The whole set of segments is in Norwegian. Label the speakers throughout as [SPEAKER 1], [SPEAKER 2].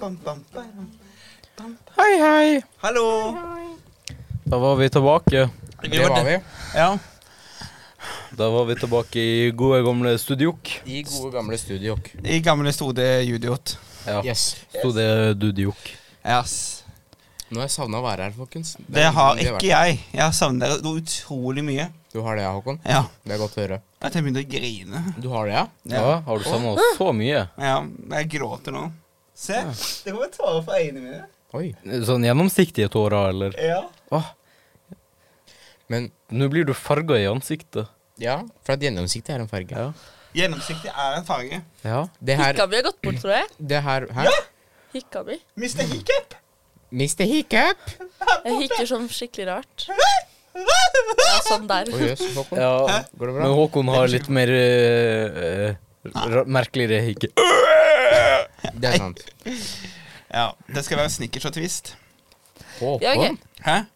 [SPEAKER 1] bam, bam, bam.
[SPEAKER 2] Hei, hei.
[SPEAKER 1] Hallo!
[SPEAKER 2] Da var vi tilbake.
[SPEAKER 1] Det var vi.
[SPEAKER 2] Ja. Da var vi tilbake i gode, gamle studiok.
[SPEAKER 3] I gode gamle studiok.
[SPEAKER 1] I gamle stode judiot.
[SPEAKER 2] Ja.
[SPEAKER 3] Yes.
[SPEAKER 2] Sto det dudiok.
[SPEAKER 1] Yes.
[SPEAKER 3] Nå har jeg savna å være her, folkens. Det er
[SPEAKER 1] Det
[SPEAKER 3] lenge
[SPEAKER 1] har
[SPEAKER 3] siden vi
[SPEAKER 1] ikke jeg. Jeg har savnet dere noe utrolig mye.
[SPEAKER 3] vært- Du har det, ja, Håkon?
[SPEAKER 1] Ja.
[SPEAKER 3] Det er godt å høre.
[SPEAKER 1] At jeg begynner å grine.
[SPEAKER 3] Du har det, ja?
[SPEAKER 2] Ja. har du savna oss så mye?
[SPEAKER 1] Ja, jeg gråter nå. Se, det kommer tårer fra øynene mine.
[SPEAKER 3] Oi.
[SPEAKER 2] Sånn gjennomsiktige tårer, eller?
[SPEAKER 1] Ja.
[SPEAKER 2] Åh,
[SPEAKER 3] Men
[SPEAKER 2] Nå blir du farga i ansiktet.
[SPEAKER 3] ja, for at gjennomsiktig er en farge.
[SPEAKER 2] Ja.
[SPEAKER 1] Gjennomsiktig er en farge.
[SPEAKER 2] Ja.
[SPEAKER 3] Det her,
[SPEAKER 4] Hikka mi har gått bort, tror jeg.
[SPEAKER 3] det her Hæ?
[SPEAKER 4] Hikka mi.
[SPEAKER 1] Mr. Hiccup!
[SPEAKER 3] Mr. Hiccup!
[SPEAKER 4] Jeg hikker sånn skikkelig rart. Ja, sånn der.
[SPEAKER 3] Å jøs, Håkon.
[SPEAKER 2] ja.
[SPEAKER 3] Går det bra?
[SPEAKER 2] Men Håkon har litt mer eh, eh, ra- merkeligere hikke.
[SPEAKER 3] Det er sant.
[SPEAKER 1] Ja, det skal være snickers og twist.
[SPEAKER 3] Håkon,
[SPEAKER 4] Ja, ok.
[SPEAKER 1] Hæ?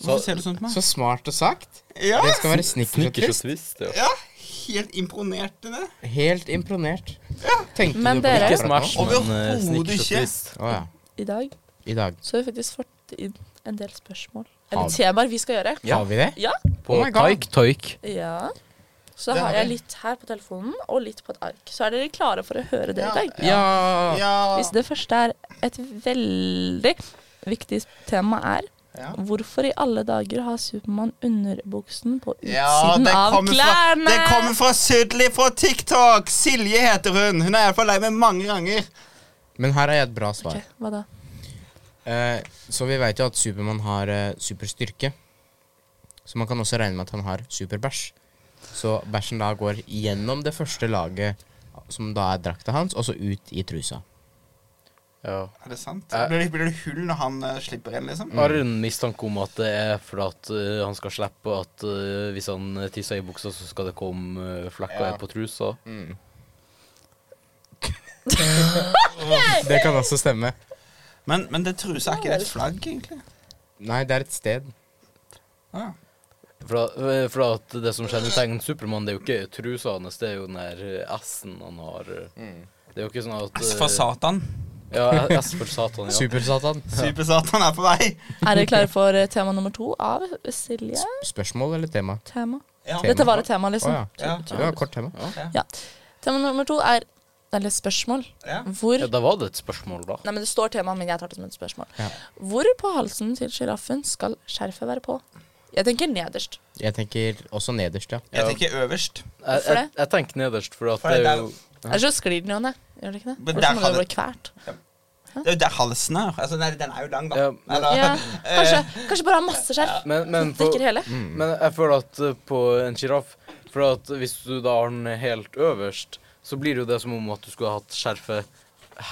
[SPEAKER 1] Hvorfor ser du sånn på meg?
[SPEAKER 3] så smart og sagt.
[SPEAKER 1] Ja,
[SPEAKER 3] Det skal være snickers og
[SPEAKER 2] Snickers og
[SPEAKER 3] twist.
[SPEAKER 2] twist. Ja.
[SPEAKER 1] ja, helt imponert i det.
[SPEAKER 3] Helt imponert. Tenkte
[SPEAKER 4] Men
[SPEAKER 3] du på det
[SPEAKER 4] dere-
[SPEAKER 2] Ikke
[SPEAKER 3] akkurat nå?
[SPEAKER 2] Smash, men eh,
[SPEAKER 1] Overhodet
[SPEAKER 2] Snickers og
[SPEAKER 1] ikke.
[SPEAKER 2] twist.
[SPEAKER 3] Å ja.
[SPEAKER 4] I dag
[SPEAKER 3] I dag.
[SPEAKER 4] så har vi faktisk fått inn en del spørsmål.
[SPEAKER 3] Har
[SPEAKER 4] Eller
[SPEAKER 3] vi?
[SPEAKER 4] temaer vi skal gjøre.
[SPEAKER 3] Har vi det?
[SPEAKER 4] Ja.
[SPEAKER 2] På
[SPEAKER 3] Oh my God.
[SPEAKER 2] Toik Toik.
[SPEAKER 4] ja. Så
[SPEAKER 1] Det har
[SPEAKER 4] har jeg
[SPEAKER 1] vi.
[SPEAKER 4] litt her på telefonen og litt på et ark. Så er dere klare for å høre det i dag?
[SPEAKER 3] Ja.
[SPEAKER 1] Ja.
[SPEAKER 4] Hvis det første er et veldig viktig tema er
[SPEAKER 1] Ja.
[SPEAKER 4] Hvorfor i alle dager har Supermann underbuksen på
[SPEAKER 1] Ja,
[SPEAKER 4] utsiden
[SPEAKER 1] det
[SPEAKER 4] av
[SPEAKER 1] kommer fra,
[SPEAKER 4] klærne?
[SPEAKER 1] det kommer fra Sydli fra TikTok. Silje heter hun. Hun er iallfall lei meg mange ganger.
[SPEAKER 3] Men her har jeg et bra svar.
[SPEAKER 4] Ok, hva da?
[SPEAKER 3] Eh, så vi veit jo at Supermann har eh, superstyrke. Så man kan også regne med at han har superbæsj. Så bæsjen da går gjennom det første laget, som da er drakta hans, og så ut i trusa.
[SPEAKER 2] Ja.
[SPEAKER 1] Er det sant?
[SPEAKER 2] Eh.
[SPEAKER 1] Blir det, blir det hull når han eh, slipper inn, liksom?
[SPEAKER 2] Har en mistanke om at det er for at eh, han skal slippe at eh, hvis han eh, tisser i buksa, så skal det komme eh, flekker
[SPEAKER 3] Ja.
[SPEAKER 2] på trusa.
[SPEAKER 3] Det kan også stemme.
[SPEAKER 1] Men, men det trusa er ikke det et flagg, egentlig?
[SPEAKER 3] Nei, det er et sted.
[SPEAKER 1] Ah.
[SPEAKER 2] For, at- eh, for at det som kjennetegner Supermann, det er jo ikke trusa hans, det er jo den der eh, S-en han har. eh. Det er jo ikke sånn at
[SPEAKER 1] S
[SPEAKER 2] eh,
[SPEAKER 1] for satan.
[SPEAKER 2] Ja, S for satan, ja.
[SPEAKER 3] Supersatan.
[SPEAKER 1] Super-Satan er på vei.
[SPEAKER 4] Er dere klare for eh, tema nummer to av Silje?
[SPEAKER 3] Spørsmål eller tema?
[SPEAKER 4] Tema.
[SPEAKER 1] Ja.
[SPEAKER 4] Dette var et tema,
[SPEAKER 3] Å
[SPEAKER 4] liksom.
[SPEAKER 3] ja.
[SPEAKER 1] Ja.
[SPEAKER 3] Det var et kort tema.
[SPEAKER 4] Ja. Tema nummer to er Eller spørsmål.
[SPEAKER 1] Ja.
[SPEAKER 4] Hvor
[SPEAKER 2] ja. Da var det et spørsmål, da.
[SPEAKER 4] Nei, men det står tema, men jeg tar det som et spørsmål.
[SPEAKER 3] Ja.
[SPEAKER 4] Hvor på halsen til sjiraffen skal skjerfet være på? Jeg tenker nederst.
[SPEAKER 3] Jeg tenker også nederst, ja.
[SPEAKER 1] Jeg tenker øverst.
[SPEAKER 2] Jeg,
[SPEAKER 4] Hvorfor
[SPEAKER 2] jeg,
[SPEAKER 4] det?
[SPEAKER 2] jeg tenker nederst, for at
[SPEAKER 1] For
[SPEAKER 2] det
[SPEAKER 1] det
[SPEAKER 2] er
[SPEAKER 1] der-
[SPEAKER 2] jo
[SPEAKER 4] Ellers så sklir den jo ned. Gjør det ikke det?
[SPEAKER 1] Men
[SPEAKER 4] Ellers
[SPEAKER 1] der
[SPEAKER 4] så må
[SPEAKER 1] kan
[SPEAKER 4] det
[SPEAKER 1] det-
[SPEAKER 4] bli kvert.
[SPEAKER 1] Det er jo der halsen er. Altså, nei, den er jo lang, da.
[SPEAKER 2] Ja, men-
[SPEAKER 1] Eller,
[SPEAKER 4] Ja, kanskje, kanskje bare ha masse skjerf.
[SPEAKER 2] Men, men på-
[SPEAKER 4] Dekker hele.
[SPEAKER 3] Mm.
[SPEAKER 2] Men jeg føler at eh, på en sjiraff For at hvis du da har den helt øverst, så blir det jo det som om at du skulle hatt skjerfet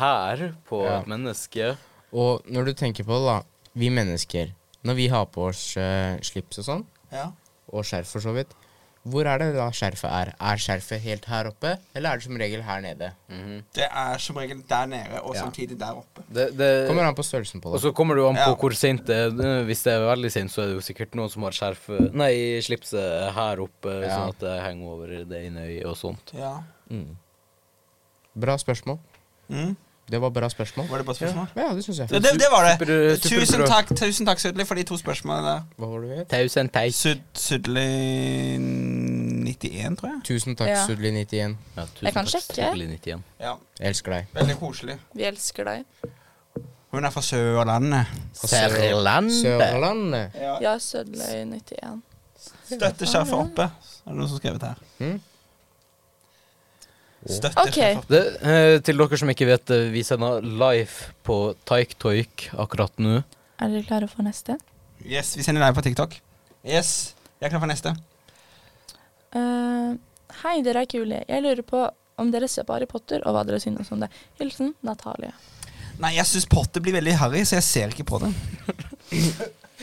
[SPEAKER 2] her på
[SPEAKER 3] Ja.
[SPEAKER 2] et menneske.
[SPEAKER 3] Og når du tenker på det, da. Vi mennesker, når vi har på oss eh, slips og sånn,
[SPEAKER 1] ja.
[SPEAKER 3] og skjerf for så vidt. Hvor er det da skjerfet er? Er skjerfet helt her oppe, eller er det som regel her nede?
[SPEAKER 1] Det er som regel der nede, og
[SPEAKER 3] Ja.
[SPEAKER 1] samtidig der oppe.
[SPEAKER 2] Det, det,
[SPEAKER 3] Kommer an på størrelsen på
[SPEAKER 2] og
[SPEAKER 3] det.
[SPEAKER 2] så kommer det jo an på
[SPEAKER 1] Ja.
[SPEAKER 2] hvor seint det er. Eh, Hvis det er veldig seint, så er det jo sikkert noen som har skjerfet Nei, slipset her oppe,
[SPEAKER 3] Ja.
[SPEAKER 2] sånn at det henger over det ene øyet og sånt.
[SPEAKER 1] Ja.
[SPEAKER 3] Bra spørsmål.
[SPEAKER 1] Mm.
[SPEAKER 3] Det var bra spørsmål.
[SPEAKER 1] Var det bare spørsmål?
[SPEAKER 3] Ja, det syns jeg.
[SPEAKER 1] Ja, det, det var det.
[SPEAKER 2] Super- eh, super
[SPEAKER 1] Tusen
[SPEAKER 2] bra.
[SPEAKER 1] takk, tusen takk Sudli, for de to spørsmålene der.
[SPEAKER 3] Hva var det vi het?
[SPEAKER 2] Tusen takk.
[SPEAKER 1] Sud, Sudli 91, tror jeg.
[SPEAKER 3] Tusen takk,
[SPEAKER 4] Ja.
[SPEAKER 3] Sudli91.
[SPEAKER 2] Ja,
[SPEAKER 4] Jeg kan
[SPEAKER 2] takk,
[SPEAKER 4] sjekke.
[SPEAKER 2] Stigli 91.
[SPEAKER 1] Ja,
[SPEAKER 3] Elsker deg.
[SPEAKER 1] Veldig koselig.
[SPEAKER 4] Vi elsker deg.
[SPEAKER 1] Hun er fra Sørlandet.
[SPEAKER 2] Sørlandet.
[SPEAKER 3] Sørlandet.
[SPEAKER 4] Ja, Sødløy 91.
[SPEAKER 1] Støtter skjerfet oppe. Er det noen som har skrevet her?
[SPEAKER 2] Hmm?
[SPEAKER 1] Støtter
[SPEAKER 4] Ok.
[SPEAKER 1] skjerfet oppe.
[SPEAKER 2] Det, eh, til dere som ikke vet det, vi sender live på Taik Toik akkurat nå.
[SPEAKER 4] Er dere klare for neste?
[SPEAKER 1] Yes, vi sender deg på TikTok. Yes. Jeg er klar for neste.
[SPEAKER 4] Eh, hei, dere er kule. Jeg lurer på om dere ser på Harry Potter, og hva dere synes om det. Hilsen Natalie.
[SPEAKER 1] Nei, jeg syns Potter blir veldig harry, så jeg ser ikke på det.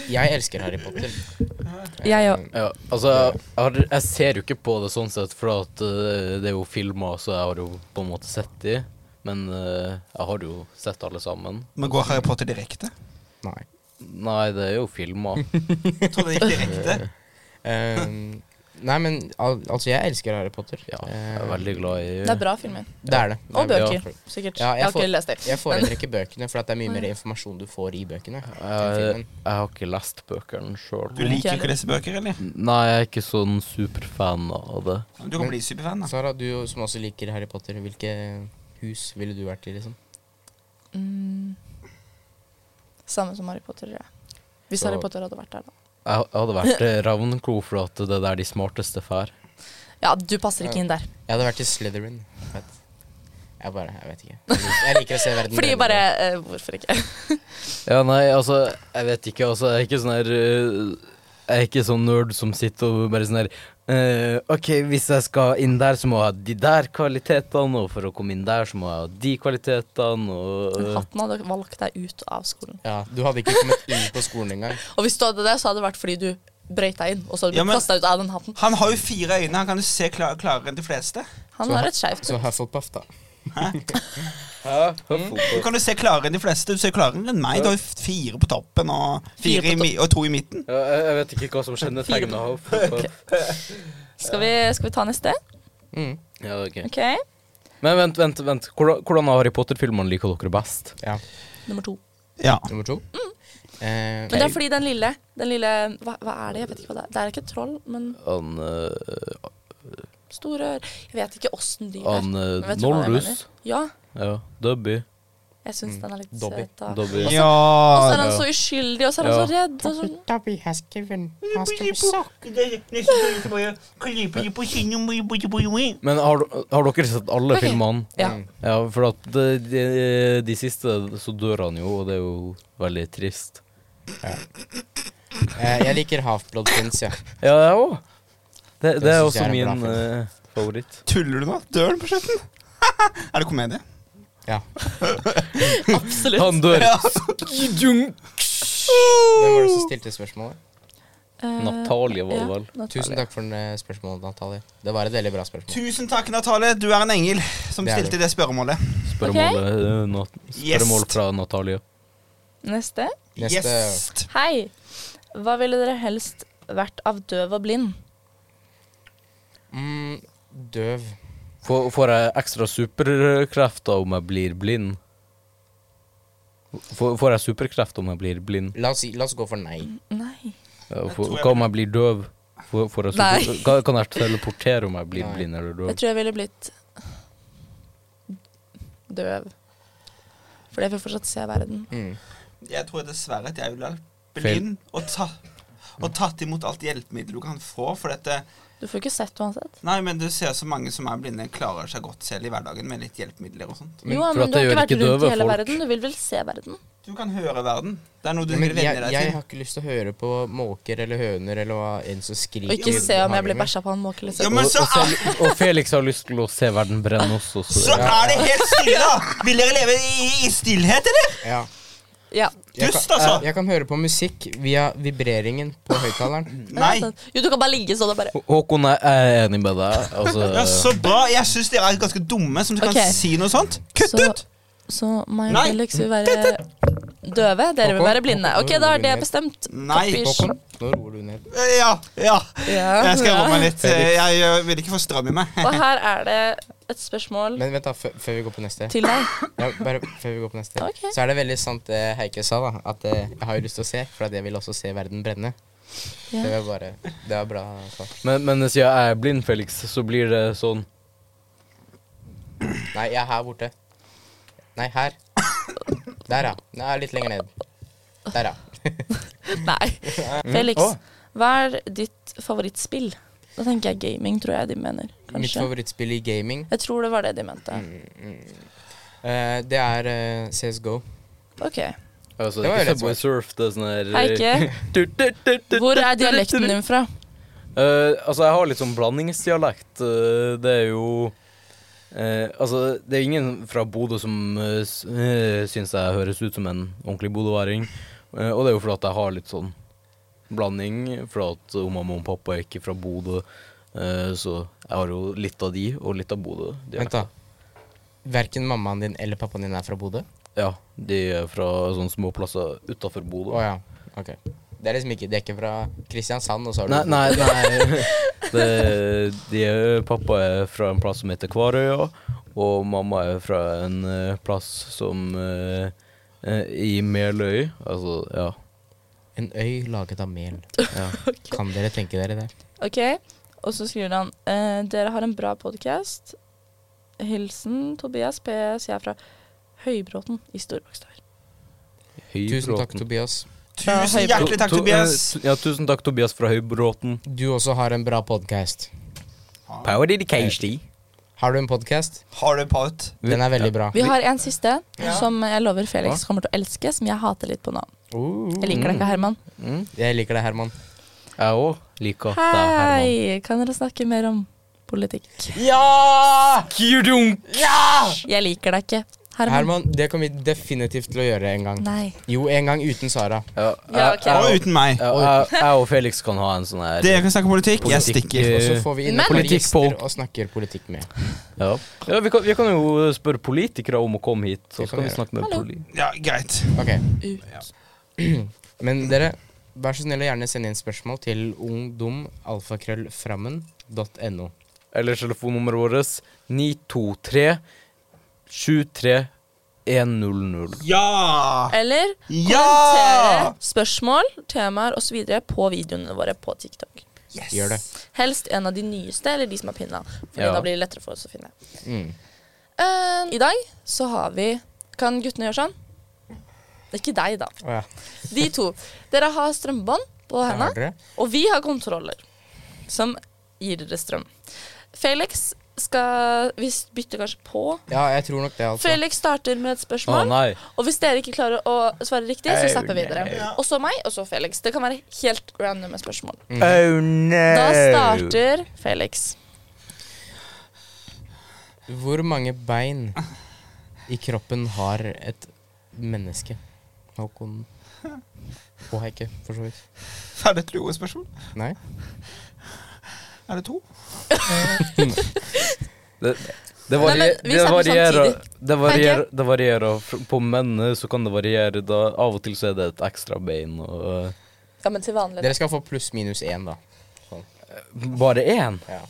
[SPEAKER 3] Jeg elsker Harry Potter. Eh,
[SPEAKER 4] Jeg òg.
[SPEAKER 2] Ja, altså, jeg, har, jeg ser jo ikke på det sånn sett, for at eh, det er jo filmer, så jeg har jo på en måte sett de. Men eh, jeg har jo sett alle sammen.
[SPEAKER 1] Men går Harry Potter direkte?
[SPEAKER 3] Nei.
[SPEAKER 2] Nei, det er jo filmer.
[SPEAKER 1] Jeg trodde det gikk direkte.
[SPEAKER 3] Ehm, Nei, men al altså, jeg elsker Harry Potter.
[SPEAKER 2] Ja, jeg er
[SPEAKER 3] Eh,
[SPEAKER 2] veldig glad i
[SPEAKER 4] Det er bra filmer.
[SPEAKER 3] Det er det. det
[SPEAKER 4] Og
[SPEAKER 3] er bra.
[SPEAKER 2] bra.
[SPEAKER 4] bøker, sikkert.
[SPEAKER 3] Ja, jeg
[SPEAKER 4] jeg, har
[SPEAKER 3] får-
[SPEAKER 4] ikke lest det.
[SPEAKER 3] Jeg foretrekker bøkene, for at det er mye mer informasjon du får i bøkene. enn
[SPEAKER 2] Jeg,
[SPEAKER 3] filmen.
[SPEAKER 2] jeg har ikke lest bøkene sjøl.
[SPEAKER 1] Du liker ikke å lese bøker, eller?
[SPEAKER 2] Nei, jeg er ikke sånn superfan av det.
[SPEAKER 1] Du kan bli superfan, da.
[SPEAKER 3] Sara, du som også liker Harry Potter, hvilke hus ville du vært i, liksom?
[SPEAKER 4] Mm. Samme som Harry Potter, tror jeg. Hvis
[SPEAKER 3] Så-
[SPEAKER 4] Harry Potter hadde vært der, da.
[SPEAKER 2] Jeg, jeg hadde vært eh, Ravenclaw, for at det er der de smarteste fær.
[SPEAKER 4] Ja, du passer ikke inn der.
[SPEAKER 3] Jeg hadde vært i Slytherin. Fett. Jeg bare Jeg vet ikke. Jeg liker, jeg liker å se verden
[SPEAKER 4] Fordi
[SPEAKER 3] brenne.
[SPEAKER 4] bare eh, Hvorfor ikke?
[SPEAKER 2] Ja, nei, altså, jeg vet ikke, altså, jeg er ikke sånn her eh, Jeg er ikke sånn nerd som sitter og bare sånn her eh, OK, hvis jeg skal inn der, så må jeg ha de der kvalitetene, og for å komme inn der, så må jeg ha de kvalitetene, og
[SPEAKER 4] Men
[SPEAKER 2] eh,
[SPEAKER 4] Hatten hadde valgt deg ut av skolen.
[SPEAKER 3] Ja, du hadde ikke kommet inn på skolen engang.
[SPEAKER 4] Og hvis du hadde det, så hadde det vært fordi du brøyt deg inn, og så hadde
[SPEAKER 1] Ja,
[SPEAKER 4] du blitt
[SPEAKER 1] men-
[SPEAKER 4] kastet ut av den hatten.
[SPEAKER 1] Han har jo fire øyne, han kan jo se klar, klarere enn de fleste.
[SPEAKER 4] Han
[SPEAKER 3] Så-
[SPEAKER 4] har et skeivt
[SPEAKER 3] Så Hufflepuff, da.
[SPEAKER 2] mm.
[SPEAKER 1] Du kan jo se klarere enn de fleste. Du ser klarere enn meg. Du har jo f- fire på toppen og, fire
[SPEAKER 4] Fire
[SPEAKER 1] i,
[SPEAKER 4] på
[SPEAKER 1] mi- og to i midten.
[SPEAKER 2] Ja, jeg, jeg vet ikke hva som kjennetegner Hufflepuff.
[SPEAKER 4] Skal vi, skal vi ta neste?
[SPEAKER 3] Mm.
[SPEAKER 2] Ja, ok.
[SPEAKER 4] OK.
[SPEAKER 2] Men vent, vent, vent. Hvordan, hvordan av Harry Potter-filmene liker dere best?
[SPEAKER 3] Ja.
[SPEAKER 4] Nummer to.
[SPEAKER 1] Ja.
[SPEAKER 3] Nummer to. Eh,
[SPEAKER 4] Mm. Men det er fordi den lille Den lille Hva, hva er det? Jeg vet ikke hva det er. Det er ikke et troll, men
[SPEAKER 2] Han, uh,
[SPEAKER 4] store ør. Jeg vet ikke åssen de er.
[SPEAKER 2] han
[SPEAKER 4] Men
[SPEAKER 2] uh,
[SPEAKER 4] vet du hva jeg
[SPEAKER 2] Noldus.
[SPEAKER 4] mener? Ja.
[SPEAKER 2] Ja, Dubby.
[SPEAKER 4] Jeg syns den er litt
[SPEAKER 3] Mm. Dobby.
[SPEAKER 4] søt. da.
[SPEAKER 2] Dobby.
[SPEAKER 1] Ja
[SPEAKER 4] Og så er han så uskyldig, og så er han
[SPEAKER 2] Ja.
[SPEAKER 4] så redd. Og sånn.
[SPEAKER 3] Dobby has given us
[SPEAKER 2] Men har, har dere sett alle
[SPEAKER 4] Ok.
[SPEAKER 2] filmene?
[SPEAKER 4] Ja.
[SPEAKER 3] Mm,
[SPEAKER 2] Ja, for at de, de, de siste, så dør han jo, og det er jo veldig trist.
[SPEAKER 3] Eh, jeg liker Half-Blood Prince, ja.
[SPEAKER 2] Ja, jeg òg. Det, det er
[SPEAKER 3] synes
[SPEAKER 2] også
[SPEAKER 3] jeg er en
[SPEAKER 2] min
[SPEAKER 3] bra
[SPEAKER 2] eh, favoritt.
[SPEAKER 1] Tuller du nå? Dør han på slutten? er det komedie?
[SPEAKER 3] ja.
[SPEAKER 4] Absolutt.
[SPEAKER 2] Han dør.
[SPEAKER 1] Ja.
[SPEAKER 2] Skidunk.
[SPEAKER 3] Hvem var det som stilte spørsmålet?
[SPEAKER 4] Eh,
[SPEAKER 2] Natalie var det
[SPEAKER 4] ja,
[SPEAKER 2] vel.
[SPEAKER 4] Natalie.
[SPEAKER 3] Tusen takk for eh, spørsmålet, Natalie. Det var et veldig bra spørsmål.
[SPEAKER 1] Tusen takk, Natalie. Du er en engel som
[SPEAKER 3] Det er
[SPEAKER 1] stilte det spørremålet.
[SPEAKER 2] Spørremålet eh, nat spørremål
[SPEAKER 1] Yes.
[SPEAKER 2] fra Natalie.
[SPEAKER 4] Neste.
[SPEAKER 3] Neste
[SPEAKER 1] Yes.
[SPEAKER 4] Hei. Hva ville dere helst vært av døv og blind?
[SPEAKER 3] mm, Døv.
[SPEAKER 2] Får, får jeg ekstra superkrefter om jeg blir blind? Får, får jeg superkrefter om jeg blir blind?
[SPEAKER 3] La oss, si, la oss gå for nei.
[SPEAKER 4] Nei.
[SPEAKER 2] Ja,
[SPEAKER 1] Jeg
[SPEAKER 2] får-
[SPEAKER 1] tror jeg
[SPEAKER 2] Hva om jeg blir døv? Får, får jeg
[SPEAKER 4] Nei.
[SPEAKER 2] super, kan, kan jeg teleportere om jeg blir
[SPEAKER 3] Nei.
[SPEAKER 2] blind eller
[SPEAKER 4] Jeg
[SPEAKER 2] døv?
[SPEAKER 4] tror jeg ville blitt døv. For jeg vil fortsatt se verden.
[SPEAKER 3] Mm.
[SPEAKER 1] Jeg tror dessverre at jeg vil være blind og, ta, og tatt imot alt hjelpemiddel du kan få. For dette
[SPEAKER 4] Du får ikke sett uansett.
[SPEAKER 1] Nei, men du ser så mange som er blinde, klarer seg godt selv i hverdagen med litt hjelpemidler og sånt.
[SPEAKER 3] Men
[SPEAKER 4] jo,
[SPEAKER 2] for
[SPEAKER 4] men
[SPEAKER 2] at
[SPEAKER 4] du
[SPEAKER 2] det
[SPEAKER 4] har ikke
[SPEAKER 2] gjør
[SPEAKER 4] vært
[SPEAKER 2] ikke
[SPEAKER 4] rundt i
[SPEAKER 2] døve
[SPEAKER 4] hele
[SPEAKER 2] folk.
[SPEAKER 4] verden. Du vil vel se verden?
[SPEAKER 1] Du kan høre verden. Det er noe du
[SPEAKER 3] Men
[SPEAKER 1] vil
[SPEAKER 3] jeg,
[SPEAKER 1] venne deg
[SPEAKER 3] jeg
[SPEAKER 1] til.
[SPEAKER 3] har ikke lyst til å høre på måker eller høner eller hva enn som skriker.
[SPEAKER 4] Og ikke se om jeg blir
[SPEAKER 3] behager meg.
[SPEAKER 4] bæsja på en måke.
[SPEAKER 1] Ja,
[SPEAKER 4] Liksom.
[SPEAKER 2] Og,
[SPEAKER 1] men
[SPEAKER 2] og,
[SPEAKER 1] så, er-
[SPEAKER 2] Fel- og Felix har lyst til å se verden brenne også. Så,
[SPEAKER 1] så er det helt stille, da! Vil dere leve i, i stillhet, eller?
[SPEAKER 3] Ja.
[SPEAKER 4] Ja.
[SPEAKER 3] Jeg
[SPEAKER 1] Dust,
[SPEAKER 3] kan,
[SPEAKER 1] altså.
[SPEAKER 3] eh, jeg kan høre på musikk via vibreringen på høyttaleren.
[SPEAKER 1] Nei.
[SPEAKER 4] Ja, sant. Jo, du kan bare ligge sånn og bare
[SPEAKER 2] Hå- Håkon, jeg er enig med deg.
[SPEAKER 1] Ja,
[SPEAKER 2] Altså,
[SPEAKER 1] så bra. Jeg syns dere er ganske dumme som
[SPEAKER 4] Ok.
[SPEAKER 1] kan si noe sånt. Kutt
[SPEAKER 4] Så-
[SPEAKER 1] ut!
[SPEAKER 4] Så meg og
[SPEAKER 1] Nei.
[SPEAKER 4] Felix vil være døve. Dere vil
[SPEAKER 3] Håkon,
[SPEAKER 4] være blinde.
[SPEAKER 3] Håkon,
[SPEAKER 4] Ok,
[SPEAKER 3] Håkon,
[SPEAKER 4] da er det
[SPEAKER 3] Håkon.
[SPEAKER 4] bestemt.
[SPEAKER 1] Nei.
[SPEAKER 4] Pappirs.
[SPEAKER 3] Håkon, nå roer du ned.
[SPEAKER 1] Eh, Ja, ja.
[SPEAKER 4] Ja,
[SPEAKER 1] Jeg skal roe
[SPEAKER 4] ja.
[SPEAKER 1] meg litt. Jeg eh, vil ikke få strøm i meg.
[SPEAKER 4] Og her er det et spørsmål
[SPEAKER 3] Men vent, da, før før vi går på neste.
[SPEAKER 4] til deg.
[SPEAKER 3] Ja, bare før vi går på neste.
[SPEAKER 4] Ok.
[SPEAKER 3] Så er det veldig sant det Heike sa, da. At eh, jeg har jo lyst til å se, for at jeg vil også se verden brenne.
[SPEAKER 4] Ja.
[SPEAKER 3] Det var bare Det var bra svart.
[SPEAKER 2] men, men siden jeg er blind, Felix, så blir det sånn
[SPEAKER 3] Nei, jeg er her borte. Nei, her. Der, ja. Nei, litt lenger ned. Der, ja.
[SPEAKER 4] Nei. Felix,
[SPEAKER 2] Mm. Å.
[SPEAKER 4] hva er ditt favorittspill? Da tenker jeg gaming, tror jeg de mener.
[SPEAKER 3] Mitt
[SPEAKER 4] Kanskje.
[SPEAKER 3] favorittspill i gaming,
[SPEAKER 4] Jeg tror det var det de mente.
[SPEAKER 2] Mm.
[SPEAKER 3] eh, det er eh, CSGO.
[SPEAKER 4] Ok.
[SPEAKER 2] altså,
[SPEAKER 3] Det
[SPEAKER 2] Det
[SPEAKER 3] var
[SPEAKER 2] er
[SPEAKER 3] jo
[SPEAKER 2] ikke
[SPEAKER 3] lett
[SPEAKER 2] Subway Surf, det er sånn her
[SPEAKER 4] Heike, hvor er dialekten din fra?
[SPEAKER 2] Eh, altså, jeg har litt sånn blandingsdialekt. Eh, det er jo eh, Altså, det er ingen fra Bodø som uh, syns jeg høres ut som en ordentlig bodøværing. Eh, og det er jo fordi at jeg har litt sånn blanding, fordi at om mamma og pappa er ikke fra Bodø. eh, så jeg har jo litt av de, og litt av Bodø. De er-
[SPEAKER 3] Vent, da. Verken mammaen din eller pappaen din er fra Bodø?
[SPEAKER 2] Ja, de er fra sånne små plasser utafor
[SPEAKER 3] Å
[SPEAKER 2] Bodø.
[SPEAKER 3] ja. Ok. Det er liksom ikke Det er ikke fra Kristiansand, og så har du
[SPEAKER 2] Nei, nei, nei. Det, eh, de er, pappa er fra en plass som heter Kvarøya, og mamma er fra en eh, plass som eh, eh, I Meløy. Altså, ja.
[SPEAKER 3] En øy laget av mel.
[SPEAKER 2] ja.
[SPEAKER 3] Kan dere tenke dere det?
[SPEAKER 4] Ok, og så skriver han eh, Dere har en bra podcast Hilsen Tobias PS Jeg er fra Høybråten i Storbakstad
[SPEAKER 3] Tusen takk,
[SPEAKER 2] Høybråten.
[SPEAKER 3] Tobias.
[SPEAKER 1] Tusen
[SPEAKER 4] hei,
[SPEAKER 1] hjertelig takk,
[SPEAKER 2] To- to-
[SPEAKER 1] Tobias.
[SPEAKER 2] eh, tu- Ja, tusen takk, Tobias fra Høybråten.
[SPEAKER 3] Du også har en bra podkast.
[SPEAKER 2] Power dedication.
[SPEAKER 3] Har du en podkast?
[SPEAKER 1] Har du pout?
[SPEAKER 3] Den er veldig bra.
[SPEAKER 4] Vi har en siste
[SPEAKER 1] Ja.
[SPEAKER 4] Som jeg lover Felix kommer til å elske Som jeg hater litt på nå
[SPEAKER 3] Uh.
[SPEAKER 4] Jeg liker deg ikke, Herman
[SPEAKER 2] Mm.
[SPEAKER 3] Jeg liker deg, Herman.
[SPEAKER 2] Jeg òg liker at det er Herman.
[SPEAKER 4] Hei, kan dere snakke mer om politikk?
[SPEAKER 3] Ja!
[SPEAKER 2] Kyrdunk!
[SPEAKER 4] Jeg liker deg ikke Herman,
[SPEAKER 3] Herman, det kommer vi definitivt til å gjøre en gang.
[SPEAKER 4] Nei
[SPEAKER 3] Jo, en gang uten Sara.
[SPEAKER 2] Ja,
[SPEAKER 4] Ja,
[SPEAKER 2] jeg-
[SPEAKER 4] ok.
[SPEAKER 2] jeg-
[SPEAKER 1] Og uten meg.
[SPEAKER 2] jeg- jeg- jeg og Felix kan ha en sånn her
[SPEAKER 1] Dere kan snakke politikk, jeg
[SPEAKER 2] Politikk,
[SPEAKER 1] stikker.
[SPEAKER 2] eh,
[SPEAKER 3] Og så får vi inn
[SPEAKER 4] Men-
[SPEAKER 3] et par gjester
[SPEAKER 2] Politikkfolk.
[SPEAKER 3] og snakker politikk med.
[SPEAKER 2] Ja, ja vi, kan, vi kan jo spørre politikere om å komme hit, så
[SPEAKER 3] Det
[SPEAKER 2] skal
[SPEAKER 3] kan
[SPEAKER 2] vi
[SPEAKER 3] vi gjøre.
[SPEAKER 2] snakke med
[SPEAKER 4] Hallo.
[SPEAKER 2] politikere.
[SPEAKER 1] Ja, greit.
[SPEAKER 3] Ok,
[SPEAKER 4] Ut.
[SPEAKER 3] Men dere, vær så snill å gjerne sende inn spørsmål til ungdomalfakrøllframmen.no.
[SPEAKER 2] Eller telefonnummeret vårt 923 73 100.
[SPEAKER 1] Ja!
[SPEAKER 4] Eller kommentere
[SPEAKER 1] Ja!
[SPEAKER 4] spørsmål, temaer og så videre på videoene våre på TikTok
[SPEAKER 3] Gjør det.
[SPEAKER 4] Helst en av de nyeste, eller de som har pinna. For
[SPEAKER 2] Ja.
[SPEAKER 4] da blir det lettere for oss å finne.
[SPEAKER 3] Mm.
[SPEAKER 4] Eh, I dag så har vi Kan guttene gjøre sånn? Ikke deg, da.
[SPEAKER 3] Å ja.
[SPEAKER 4] De to. Dere har strømbånd på
[SPEAKER 3] Der har
[SPEAKER 4] hendene,
[SPEAKER 3] dere.
[SPEAKER 4] og vi har kontroller som gir dere strøm. Felix skal Vi bytter kanskje på.
[SPEAKER 3] Ja, jeg tror nok det, altså.
[SPEAKER 4] Felix starter med et
[SPEAKER 2] Å
[SPEAKER 4] spørsmål,
[SPEAKER 2] nei.
[SPEAKER 4] og hvis dere ikke klarer å svare riktig, så
[SPEAKER 2] Au,
[SPEAKER 4] zapper vi dere.
[SPEAKER 1] nei.
[SPEAKER 4] Og så meg, og så Felix. Det kan være helt random spørsmål.
[SPEAKER 2] Oh, no.
[SPEAKER 4] Da starter Felix.
[SPEAKER 3] Hvor mange bein i kroppen har et menneske? Håkon og Heike, for så vidt.
[SPEAKER 1] Er det et lurespørsmål?
[SPEAKER 3] Nei?
[SPEAKER 1] Er det to?
[SPEAKER 2] Det, det,
[SPEAKER 4] Nei, men
[SPEAKER 2] varier,
[SPEAKER 4] vi
[SPEAKER 2] det,
[SPEAKER 4] snakker
[SPEAKER 2] varierer,
[SPEAKER 4] samtidig.
[SPEAKER 2] det, varierer, det varierer. F- På mennene så kan det variere. Da, av og til så er det et ekstra bein. Og, eh,
[SPEAKER 4] Ja, men til vanlig.
[SPEAKER 3] Dere skal få pluss-minus én, da. Sånn,
[SPEAKER 2] bare én?
[SPEAKER 3] Ja.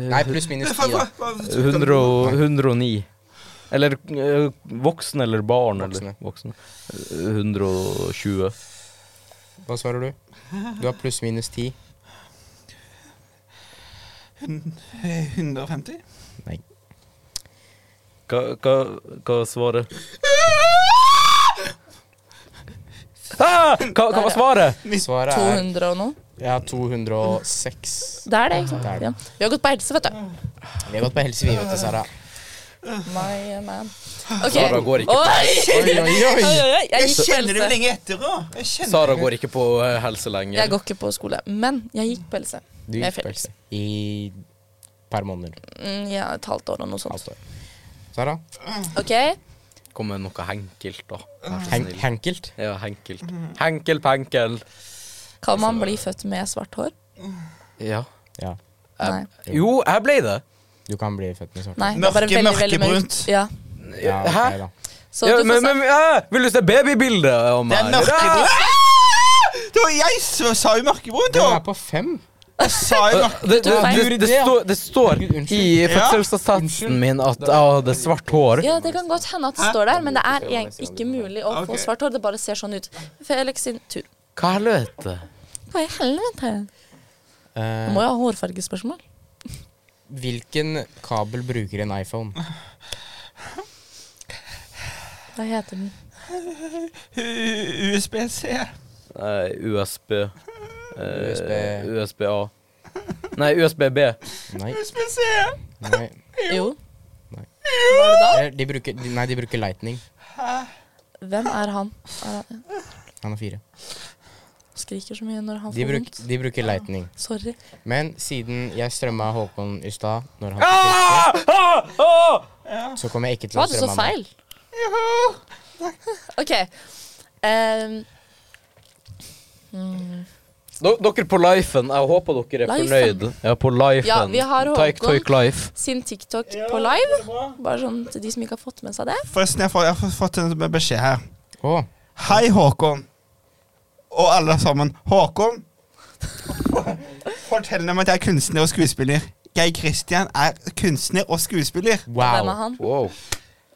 [SPEAKER 3] Nei, pluss-minus ti, da.
[SPEAKER 2] Hundre og- 109. Eller eh, voksen eller barn. Eller, voksne. Eh, 120.
[SPEAKER 3] Hva svarer du? Du har pluss-minus ti.
[SPEAKER 1] eh, 150?
[SPEAKER 3] Nei.
[SPEAKER 2] Hva, hva, hva er svaret? Ah, hva, hva var svaret?
[SPEAKER 3] Svaret er
[SPEAKER 4] 200 og noe.
[SPEAKER 3] Jeg har 206.
[SPEAKER 4] Det er det, ikke sant?
[SPEAKER 3] Det er det.
[SPEAKER 4] Ja. Vi har gått på helse, vet du.
[SPEAKER 3] Vi har gått på helse, vi, vet du, Sara.
[SPEAKER 4] My man. Ok.
[SPEAKER 2] Sara går ikke
[SPEAKER 4] Oi!
[SPEAKER 3] Oi, oi, oi.
[SPEAKER 4] Oi, oi, oi. Jeg
[SPEAKER 1] Jeg
[SPEAKER 4] gikk på
[SPEAKER 1] kjenner det jo
[SPEAKER 4] helse.
[SPEAKER 1] lenge etter òg. Jeg kjenner
[SPEAKER 2] Sara går ikke på eh, helse lenger.
[SPEAKER 4] Jeg går ikke på skole, men jeg gikk på helse.
[SPEAKER 3] Du
[SPEAKER 4] Jeg er
[SPEAKER 3] gikk på
[SPEAKER 4] Felix.
[SPEAKER 3] helse i et par måneder.
[SPEAKER 4] Mm, ja, et halvt år og noe sånt.
[SPEAKER 3] Halvt år. Sara?
[SPEAKER 4] Ok,
[SPEAKER 2] Kom med noe henkelt, da. Vær så
[SPEAKER 3] Hen
[SPEAKER 2] snill.
[SPEAKER 3] henkelt?
[SPEAKER 2] Ja, henkelt. Henkel penkel.
[SPEAKER 4] Kan man bli født med svart hår?
[SPEAKER 2] Ja.
[SPEAKER 3] Ja.
[SPEAKER 4] Nei.
[SPEAKER 2] Jo, jeg ble det.
[SPEAKER 3] Du kan bli født med svart.
[SPEAKER 4] Nei det er bare
[SPEAKER 1] Mørke,
[SPEAKER 4] veldig, veldig mørkt.
[SPEAKER 1] mørkebrunt.
[SPEAKER 4] Ja.
[SPEAKER 3] Ja,
[SPEAKER 2] Hæ?
[SPEAKER 3] ok, da.
[SPEAKER 4] Så
[SPEAKER 2] ja,
[SPEAKER 4] du
[SPEAKER 2] men,
[SPEAKER 4] får se.
[SPEAKER 2] men eh, vil du se babybildet av
[SPEAKER 1] Det
[SPEAKER 2] meg?
[SPEAKER 1] er mørkebrunt. Ah! Det var jeg som sa jo mørkebrunt,
[SPEAKER 3] Den er
[SPEAKER 1] jo!
[SPEAKER 3] på fem.
[SPEAKER 1] Jeg sa jo
[SPEAKER 2] Det,
[SPEAKER 1] mørke...
[SPEAKER 2] det, det,
[SPEAKER 4] feil.
[SPEAKER 2] det, det, står, det står
[SPEAKER 3] Gud, unnskyld.
[SPEAKER 2] i
[SPEAKER 1] Ja.
[SPEAKER 2] fødselsattesten min at jeg hadde svart hår.
[SPEAKER 4] Ja, det kan godt hende at det står der, men det er egen- ikke mulig å
[SPEAKER 1] Ok.
[SPEAKER 4] få svart hår. Det bare ser sånn ut. Felix sin tur.
[SPEAKER 2] Hva helvete?
[SPEAKER 4] Hva i helvete?
[SPEAKER 3] Eh,
[SPEAKER 4] Må jo ha hårfargespørsmål.
[SPEAKER 3] hvilken kabel bruker en iPhone?
[SPEAKER 4] Hva heter den?
[SPEAKER 1] U- USBC.
[SPEAKER 2] Nei, USB eh,
[SPEAKER 3] USB.
[SPEAKER 2] USB-A. Nei, USB-B.
[SPEAKER 3] Nei.
[SPEAKER 1] USBC.
[SPEAKER 3] nei.
[SPEAKER 4] Jo.
[SPEAKER 3] Nei.
[SPEAKER 4] Hva er det da?
[SPEAKER 3] Eh, De bruker, de, nei, de bruker Lightning.
[SPEAKER 4] Hvem er han? Er han?
[SPEAKER 3] Han er fire.
[SPEAKER 4] Skriker så mye når han
[SPEAKER 3] De,
[SPEAKER 4] får
[SPEAKER 3] bruk,
[SPEAKER 4] vondt.
[SPEAKER 3] de bruker Lightning.
[SPEAKER 4] Sorry.
[SPEAKER 3] Men siden jeg strømma Håkon i stad, når han
[SPEAKER 2] Ah! Ah! Ah!
[SPEAKER 3] så kommer jeg ikke til å
[SPEAKER 4] Hva du så
[SPEAKER 3] strømme meg.
[SPEAKER 4] feil? OK. Em,
[SPEAKER 2] D- Dere på Lifen. Jeg håper dere er
[SPEAKER 4] Lifen.
[SPEAKER 2] fornøyd. Ja, på Lifen.
[SPEAKER 4] Ja, vi har
[SPEAKER 2] Take,
[SPEAKER 4] Håkon.
[SPEAKER 2] take life.
[SPEAKER 4] sin TikTok på live. Bare sånn til de som ikke har fått med seg det.
[SPEAKER 1] Forresten, jeg har fått- jeg har fått en beskjed her.
[SPEAKER 3] Å,
[SPEAKER 1] Hei, Håkon. Og alle sammen. Håkon, Fortell dem at jeg er kunstner og skuespiller. Geir Kristian er kunstner og skuespiller.
[SPEAKER 4] Hvem er
[SPEAKER 3] Wow.
[SPEAKER 4] han?
[SPEAKER 2] Wow.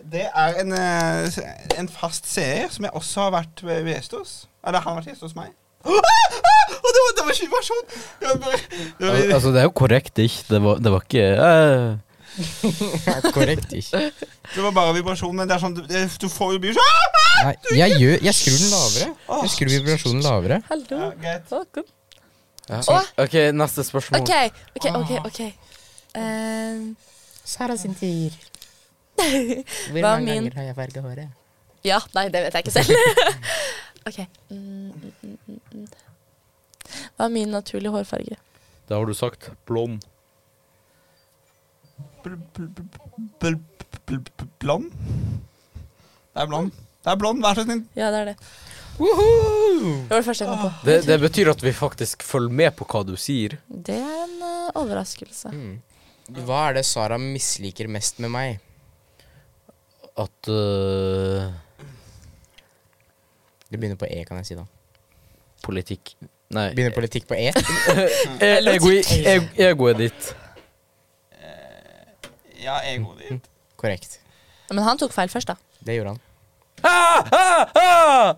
[SPEAKER 1] Det er en, eh, en fast seer som jeg også har vært ved ved gjest hos. Eller han har vært gjest hos meg. Ah! Ah! Og det var, det var ikke invasjon! Det var bare, det var,
[SPEAKER 2] Al altså, det er jo korrekt, ikke? Det var, det var ikke eh,
[SPEAKER 3] Korrekt. ikke?
[SPEAKER 1] Det var bare vibrasjon, men det er sånn, du- det- du får jo blir sånn
[SPEAKER 3] Nei, jeg, gjør, jeg skrur den lavere. Jeg skrur vibrasjonen lavere.
[SPEAKER 4] Hallo.
[SPEAKER 1] Ja, greit.
[SPEAKER 4] Håkon.
[SPEAKER 2] så- OK, neste spørsmål.
[SPEAKER 4] OK, OK, OK. ok. Eh,
[SPEAKER 3] Sara sin tid. Hvor
[SPEAKER 4] Hva er mange min? ganger
[SPEAKER 3] har jeg farga håret?
[SPEAKER 4] ja, nei, det vet jeg ikke selv. OK. Mm, mm, mm, mm, mm. Hva er min naturlige hårfarge?
[SPEAKER 2] Da har du sagt blond.
[SPEAKER 1] bl- bl- bl- bl- bl- bl- Blond? Det er blond. Det er blond, vær så snill.
[SPEAKER 4] Ja, det er det. Det var det første jeg kom på.
[SPEAKER 2] Det, det betyr at vi faktisk følger med på hva du sier.
[SPEAKER 4] Det er en eh, overraskelse.
[SPEAKER 3] Hva er det Sara misliker mest med meg?
[SPEAKER 2] At eh,
[SPEAKER 3] Det begynner på E, kan jeg si da.
[SPEAKER 2] politikk Nei.
[SPEAKER 3] Begynner politikk på E?
[SPEAKER 2] Eh, Egoet eg- egoet e-, ditt.
[SPEAKER 1] Ja, egoet ditt.
[SPEAKER 3] Korrekt.
[SPEAKER 4] Men han tok feil først, da.
[SPEAKER 3] Det gjorde han.
[SPEAKER 2] Ah, ah, ah!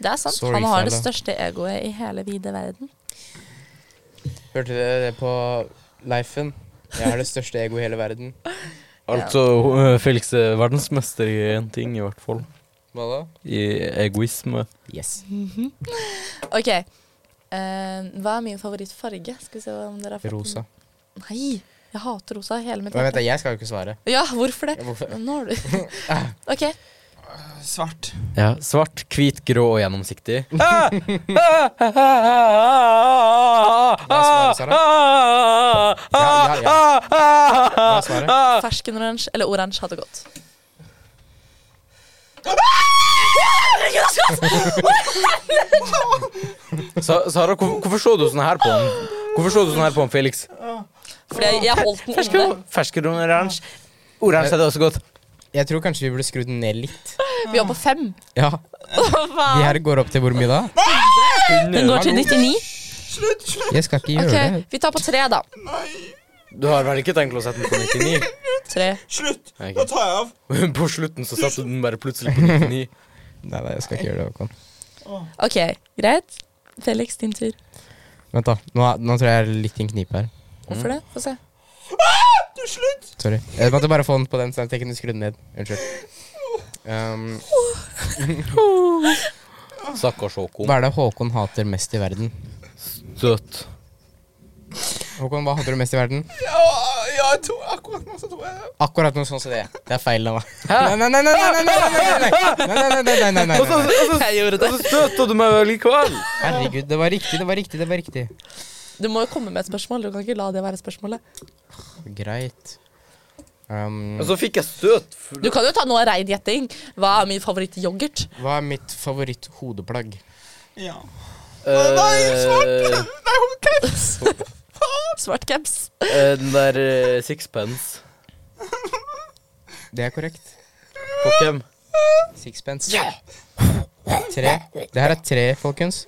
[SPEAKER 4] Det er sant.
[SPEAKER 3] Sorry,
[SPEAKER 4] han har det
[SPEAKER 3] fella.
[SPEAKER 4] største egoet i hele vide verden.
[SPEAKER 3] Hørte dere det på Leifen? Jeg har det største ego i hele verden.
[SPEAKER 2] Altså, eh, Felix er verdensmester i én ting, i hvert fall.
[SPEAKER 3] Hva da?
[SPEAKER 2] I egoisme.
[SPEAKER 3] Yes.
[SPEAKER 4] OK. Eh, hva er min favorittfarge? Skal vi se om dere har fått den.
[SPEAKER 3] Rosa.
[SPEAKER 4] Nei, jeg hater rosa i hele mitt
[SPEAKER 3] Men vent, da,
[SPEAKER 4] hjerte.
[SPEAKER 3] jeg skal jo ikke svare.
[SPEAKER 4] Ja, hvorfor det?
[SPEAKER 3] Hvorfor? Ah.
[SPEAKER 4] Nå har du OK.
[SPEAKER 1] Svart.
[SPEAKER 2] Ja, Svart, hvit, grå og gjennomsiktig. Ah, ah, ah, ah, ah, ah,
[SPEAKER 3] Hva er svaret, Sara?
[SPEAKER 2] ah, ah,
[SPEAKER 3] Ja, ja, ja.
[SPEAKER 2] ah, ah,
[SPEAKER 3] Hva
[SPEAKER 2] ah,
[SPEAKER 3] er svaret?
[SPEAKER 2] ah.
[SPEAKER 4] Ferskenoransje eller oransje hadde gått.
[SPEAKER 2] Sa- Sara, hvor- hvorfor så du sånn her på han? Hvorfor så du sånn her på han, Felix?
[SPEAKER 4] Fordi jeg, jeg holdt den under.
[SPEAKER 2] Fersken oransje. Oransje er det også godt.
[SPEAKER 3] Jeg tror kanskje vi burde skru den ned litt.
[SPEAKER 4] Vi var på fem.
[SPEAKER 3] Ja,
[SPEAKER 4] Hva
[SPEAKER 3] De
[SPEAKER 4] faen?
[SPEAKER 3] her går opp til hvor mye da?
[SPEAKER 4] Den går til 99.
[SPEAKER 1] Slutt, slutt!
[SPEAKER 3] Jeg skal ikke gjøre
[SPEAKER 4] OK,
[SPEAKER 3] det.
[SPEAKER 4] vi tar på tre, da.
[SPEAKER 2] Du har vel ikke tenkt å sette den på 99?
[SPEAKER 4] Tre.
[SPEAKER 1] Slutt!
[SPEAKER 2] Nei,
[SPEAKER 1] Nå
[SPEAKER 2] ikke.
[SPEAKER 1] tar jeg av.
[SPEAKER 2] På slutten så satte du den bare plutselig på 99.
[SPEAKER 3] Nei, nei, jeg skal ikke gjøre det. Håkon.
[SPEAKER 4] OK, greit. Felix, din tur.
[SPEAKER 3] Vent, da. Nå, er- nå tror jeg jeg er litt i en knipe her. Mm.
[SPEAKER 4] Hvorfor det? Få se.
[SPEAKER 1] Du, slutt!
[SPEAKER 3] Sorry. Jeg måtte bare få den på den, så jeg kunne skru den ned. Unnskyld. Um,
[SPEAKER 2] Stakkars Håkon.
[SPEAKER 3] hva er det Håkon hater mest i verden?
[SPEAKER 2] Søt.
[SPEAKER 3] Håkon, hva hater du mest i verden?
[SPEAKER 1] Ja, ja jeg tror akkurat nå så tror jeg det.
[SPEAKER 3] Akkurat noe sånn som det. Det er feil av meg. Nei, nei, nei, nei, nei, nei, nei, nei, nei, nei, nei, nei, nei, nei, nei, nei, nei.
[SPEAKER 4] Jeg gjorde det.
[SPEAKER 2] Så støta du meg likevel.
[SPEAKER 3] Herregud, det var riktig, det var riktig, det var riktig.
[SPEAKER 4] Du må jo komme med et spørsmål. Du kan ikke la det være spørsmålet.
[SPEAKER 3] Greit. Um,
[SPEAKER 2] Og så fikk jeg støt. for-
[SPEAKER 4] Du kan jo ta noe rein gjetting. Hva er min favorittyoghurt?
[SPEAKER 3] hva er mitt favoritt-hodeplagg?
[SPEAKER 1] Ja.
[SPEAKER 2] Eh,
[SPEAKER 1] Nei, hun kreps!
[SPEAKER 4] Svart caps.
[SPEAKER 2] eh, Den der eh, sixpence.
[SPEAKER 3] Det er korrekt.
[SPEAKER 2] På hvem?
[SPEAKER 3] Sixpence. Tre. Det her er tre, folkens.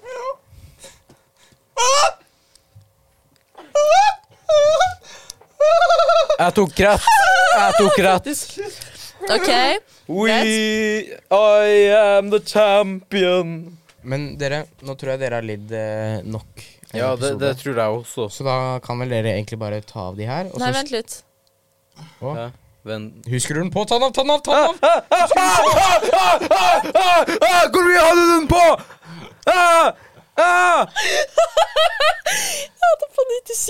[SPEAKER 2] Jeg tok rett. Jeg tok rett.
[SPEAKER 4] OK.
[SPEAKER 2] We I am the champion.
[SPEAKER 3] Men dere, nå tror jeg dere har lidd eh, nok. en
[SPEAKER 2] Ja, det,
[SPEAKER 3] episode.
[SPEAKER 2] det tror jeg også.
[SPEAKER 3] Så da kan vel dere egentlig bare ta av de her. Og
[SPEAKER 4] Nei,
[SPEAKER 3] så
[SPEAKER 4] vent litt.
[SPEAKER 2] Ja, vent.
[SPEAKER 3] Husker du den på? Ta den av, ta den av! ta den av
[SPEAKER 2] Ah, Hvor mye hadde du den på?! Ah, ah,
[SPEAKER 4] Jeg hadde på 97.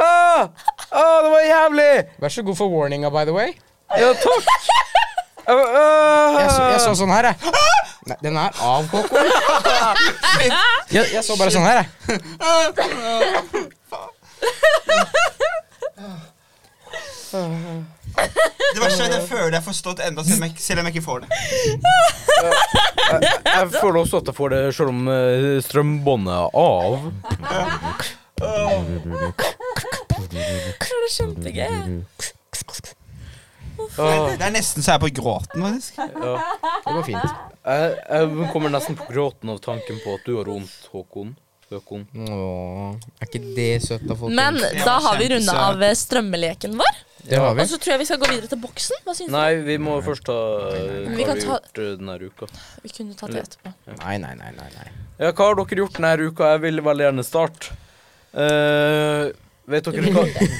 [SPEAKER 2] ah, ah, det var jævlig!
[SPEAKER 3] Vær så god for warninga, by the way.
[SPEAKER 2] Ja, takk. Ah, ah.
[SPEAKER 3] Jeg så, jeg så sånn her, jeg. Nei, den er av, Koko. Jeg, jeg så bare sånn her, jeg.
[SPEAKER 1] Det verste er at jeg føler jeg har forstått enda, selv om jeg- selv om jeg ikke får det.
[SPEAKER 2] Jeg føler også at jeg får det selv om eh, strømbåndet er av.
[SPEAKER 4] Det var kjempegøy.
[SPEAKER 2] Ah,
[SPEAKER 1] Det er nesten så jeg er på gråten, faktisk.
[SPEAKER 2] ja.
[SPEAKER 3] Det går fint.
[SPEAKER 2] jeg, jeg kommer nesten på gråten av tanken på at du har vondt, Håkon. Spøkon.
[SPEAKER 3] Åh, er ikke det søtt av folk?
[SPEAKER 4] Men da har vi runda av eh, strømmeleken vår.
[SPEAKER 3] Det har vi.
[SPEAKER 4] Og så tror jeg vi skal gå videre til boksen. Hva syns du?
[SPEAKER 2] Nei, vi må først ta eh,
[SPEAKER 4] Men vi
[SPEAKER 2] hva har
[SPEAKER 4] kan
[SPEAKER 2] vi
[SPEAKER 4] ta-
[SPEAKER 2] gjort eh, denne uka.
[SPEAKER 4] Vi kunne tatt det etterpå.
[SPEAKER 3] Nei, nei, nei. nei, nei.
[SPEAKER 2] Ja, hva har dere gjort denne uka? Jeg vil veldig gjerne starte. Eh, vet
[SPEAKER 4] Du
[SPEAKER 2] dere
[SPEAKER 4] vil
[SPEAKER 2] hva
[SPEAKER 4] ikke det.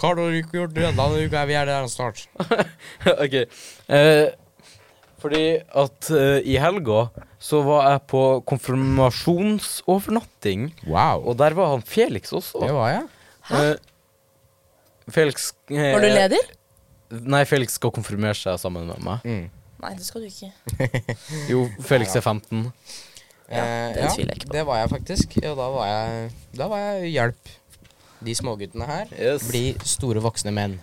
[SPEAKER 3] Hva har du gjort denne uka? Vi er der snart.
[SPEAKER 2] OK. Eh, fordi at eh, i helga så var jeg på konfirmasjonsovernatting,
[SPEAKER 3] Wow.
[SPEAKER 2] og der var han Felix også.
[SPEAKER 3] Det var jeg.
[SPEAKER 2] Eh, Felix eh,
[SPEAKER 4] Var du leder?
[SPEAKER 2] Nei, Felix skal konfirmere seg sammen med meg.
[SPEAKER 3] Mm.
[SPEAKER 4] Nei, det skal du ikke.
[SPEAKER 2] Jo, Felix er 15.
[SPEAKER 3] Eh, Ja,
[SPEAKER 4] den tviler jeg ikke på.
[SPEAKER 3] Det var jeg faktisk. Og da var jeg, da var jeg hjelp. De småguttene her
[SPEAKER 2] Yes.
[SPEAKER 3] blir store voksne menn.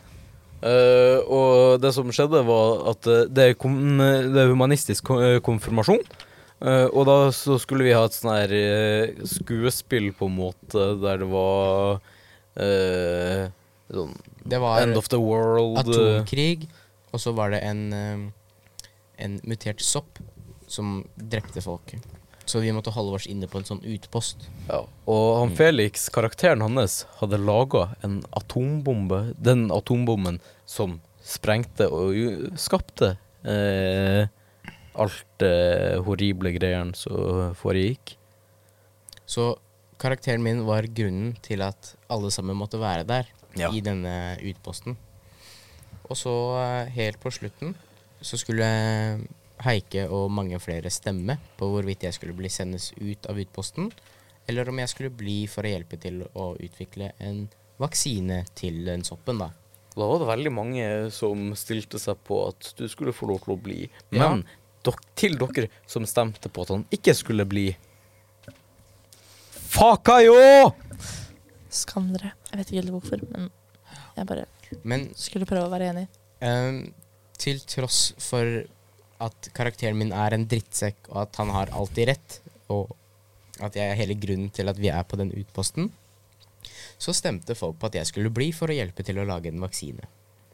[SPEAKER 2] Eh, og det som skjedde, var at eh, det er, kom, det er humanistisk ko- eh, konfirmasjon. Eh, og da så skulle vi ha et sånn her eh, skuespill, på en måte, der det var eh, sånn
[SPEAKER 3] Det var
[SPEAKER 2] End of the world. eh,
[SPEAKER 3] atomkrig, og så var det en, eh, en mutert sopp som drepte folk. Så vi måtte holde oss inne på en sånn utpost.
[SPEAKER 2] ja. Og han Felix, karakteren hans, hadde laga en atombombe. Den atombomben som sprengte og jo- skapte eh, alt det horrible greiene som foregikk.
[SPEAKER 3] Så karakteren min var grunnen til at alle sammen måtte være der
[SPEAKER 2] Ja.
[SPEAKER 3] i denne utposten. Og så eh, helt på slutten så skulle eh, Heike og mange flere stemme på hvorvidt jeg skulle bli sendes ut av utposten, eller om jeg skulle bli for å hjelpe til å utvikle en vaksine til den soppen, da.
[SPEAKER 2] Da var det veldig mange som stilte seg på at du skulle få lov til å bli.
[SPEAKER 3] Ja.
[SPEAKER 2] Men dok til dere som stemte på at han ikke skulle bli Fucka jo!
[SPEAKER 4] Skam dere. Jeg vet ikke helt hvorfor, men jeg bare
[SPEAKER 3] Men
[SPEAKER 4] skulle prøve å være enig.
[SPEAKER 3] Ehm, til tross for at karakteren min er en drittsekk, og at han har alltid rett, og at jeg er hele grunnen til at vi er på den utposten, så stemte folk på at jeg skulle bli for å hjelpe til å lage en vaksine.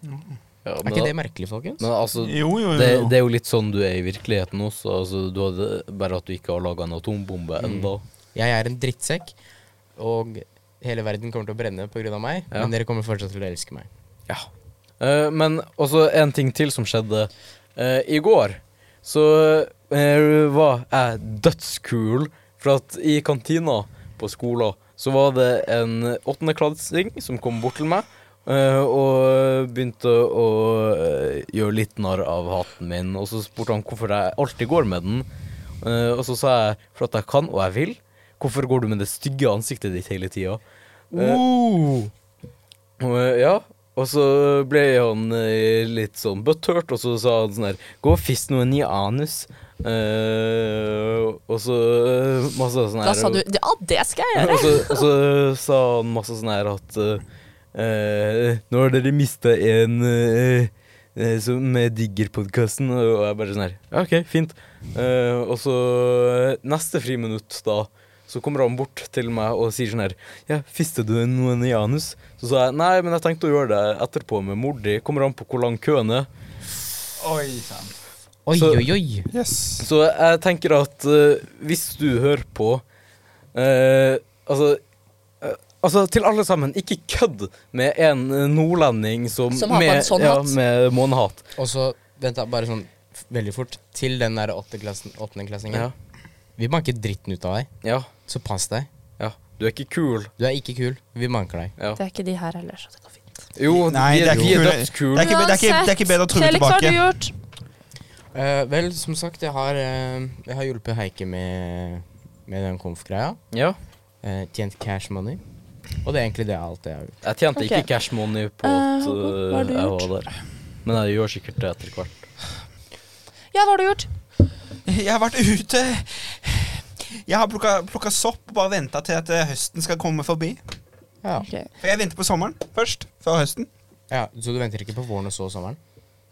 [SPEAKER 2] Ja,
[SPEAKER 3] Er ikke det merkelig, folkens?
[SPEAKER 2] Men altså,
[SPEAKER 1] Jo, jo, jo.
[SPEAKER 2] det, det er jo litt sånn du er i virkeligheten også. Altså, du hadde, bare at du ikke har laga en atombombe
[SPEAKER 3] Mm.
[SPEAKER 2] ennå.
[SPEAKER 3] Jeg er en drittsekk, og hele verden kommer til å brenne pga. meg,
[SPEAKER 2] Ja.
[SPEAKER 3] men dere kommer fortsatt til å elske meg.
[SPEAKER 2] Ja. Eh, men også en ting til som skjedde. Eh, I går så eh, var jeg dødskul, for at i kantina på skolen så var det en åttendeklassing som kom bort til meg. eh, og begynte å eh, gjøre litt narr av haten min. Og så spurte han hvorfor jeg alltid går med den. Eh, og så sa jeg for at jeg kan og jeg vil. Hvorfor går du med det stygge ansiktet ditt hele tida?
[SPEAKER 1] Eh. Uh.
[SPEAKER 2] Og, eh, ja, og så ble han eh, litt sånn butthurt, og så sa han sånn her Gå og fiss noen i anus. Eh, og så eh, masse sånn her
[SPEAKER 4] Da sa du Ja, det skal jeg gjøre!
[SPEAKER 2] og så, og så sa han masse sånn her at eh, eh, Nå har dere mista en eh, eh, som digger podkasten, og jeg bare sånn her Ja, OK, fint. Eh, og så eh, neste friminutt, da, så kommer han bort til meg og sier sånn her Ja, fiste du noen i anus? Så sa jeg nei, men jeg tenkte å gjøre det etterpå med mor di. Kommer an på hvor lang køen er.
[SPEAKER 1] Oi sann.
[SPEAKER 3] Oi,
[SPEAKER 2] Så-
[SPEAKER 3] oi, oi!
[SPEAKER 1] Yes.
[SPEAKER 2] Så jeg tenker at eh, hvis du hører på eh, Altså eh, Altså, til alle sammen, ikke kødd med en eh, nordlending som,
[SPEAKER 4] Som har på
[SPEAKER 2] med,
[SPEAKER 4] en sånn
[SPEAKER 2] ja,
[SPEAKER 4] hatt.
[SPEAKER 2] med månehatt.
[SPEAKER 3] Og så, vent da, bare sånn f- veldig fort, til den der åttendeklassen- åttendeklassingen.
[SPEAKER 2] Ja.
[SPEAKER 3] Vi banker dritten ut av deg,
[SPEAKER 2] ja.
[SPEAKER 3] så pass deg.
[SPEAKER 2] Ja. Du er ikke kul.
[SPEAKER 3] Du er ikke kul. Vi manker deg.
[SPEAKER 2] Ja.
[SPEAKER 4] Det er ikke de her heller, så det går fint.
[SPEAKER 2] Jo,
[SPEAKER 1] Nei,
[SPEAKER 2] vi
[SPEAKER 1] det er
[SPEAKER 2] vi
[SPEAKER 1] ikke kul.
[SPEAKER 2] dødskul.
[SPEAKER 1] Det er ikke- det er ikke- det er ikke bedre å true
[SPEAKER 4] Felix, hva har du
[SPEAKER 1] tilbake.
[SPEAKER 4] gjort?
[SPEAKER 3] Eh, vel, som sagt, jeg har, eh, jeg har hjulpet Heike med, med den konf-greia.
[SPEAKER 2] Ja.
[SPEAKER 3] Eh, tjent cash money. Og det er egentlig det alt jeg har gjort.
[SPEAKER 2] Jeg tjente
[SPEAKER 4] Ok.
[SPEAKER 2] ikke cash money på
[SPEAKER 4] Eh,
[SPEAKER 2] at
[SPEAKER 4] Håkon, hva har
[SPEAKER 2] eh,
[SPEAKER 4] du
[SPEAKER 2] jeg
[SPEAKER 4] gjort?
[SPEAKER 2] var der. Men jeg gjør sikkert det etter hvert.
[SPEAKER 4] Ja, hva har du gjort?
[SPEAKER 1] Jeg har vært ute. Jeg har plukka, plukka sopp og bare venta til at eh, høsten skal komme forbi.
[SPEAKER 3] Ja.
[SPEAKER 4] Ok.
[SPEAKER 1] For jeg venter på sommeren først. Før høsten.
[SPEAKER 3] ja, Så du venter ikke på våren og så sommeren?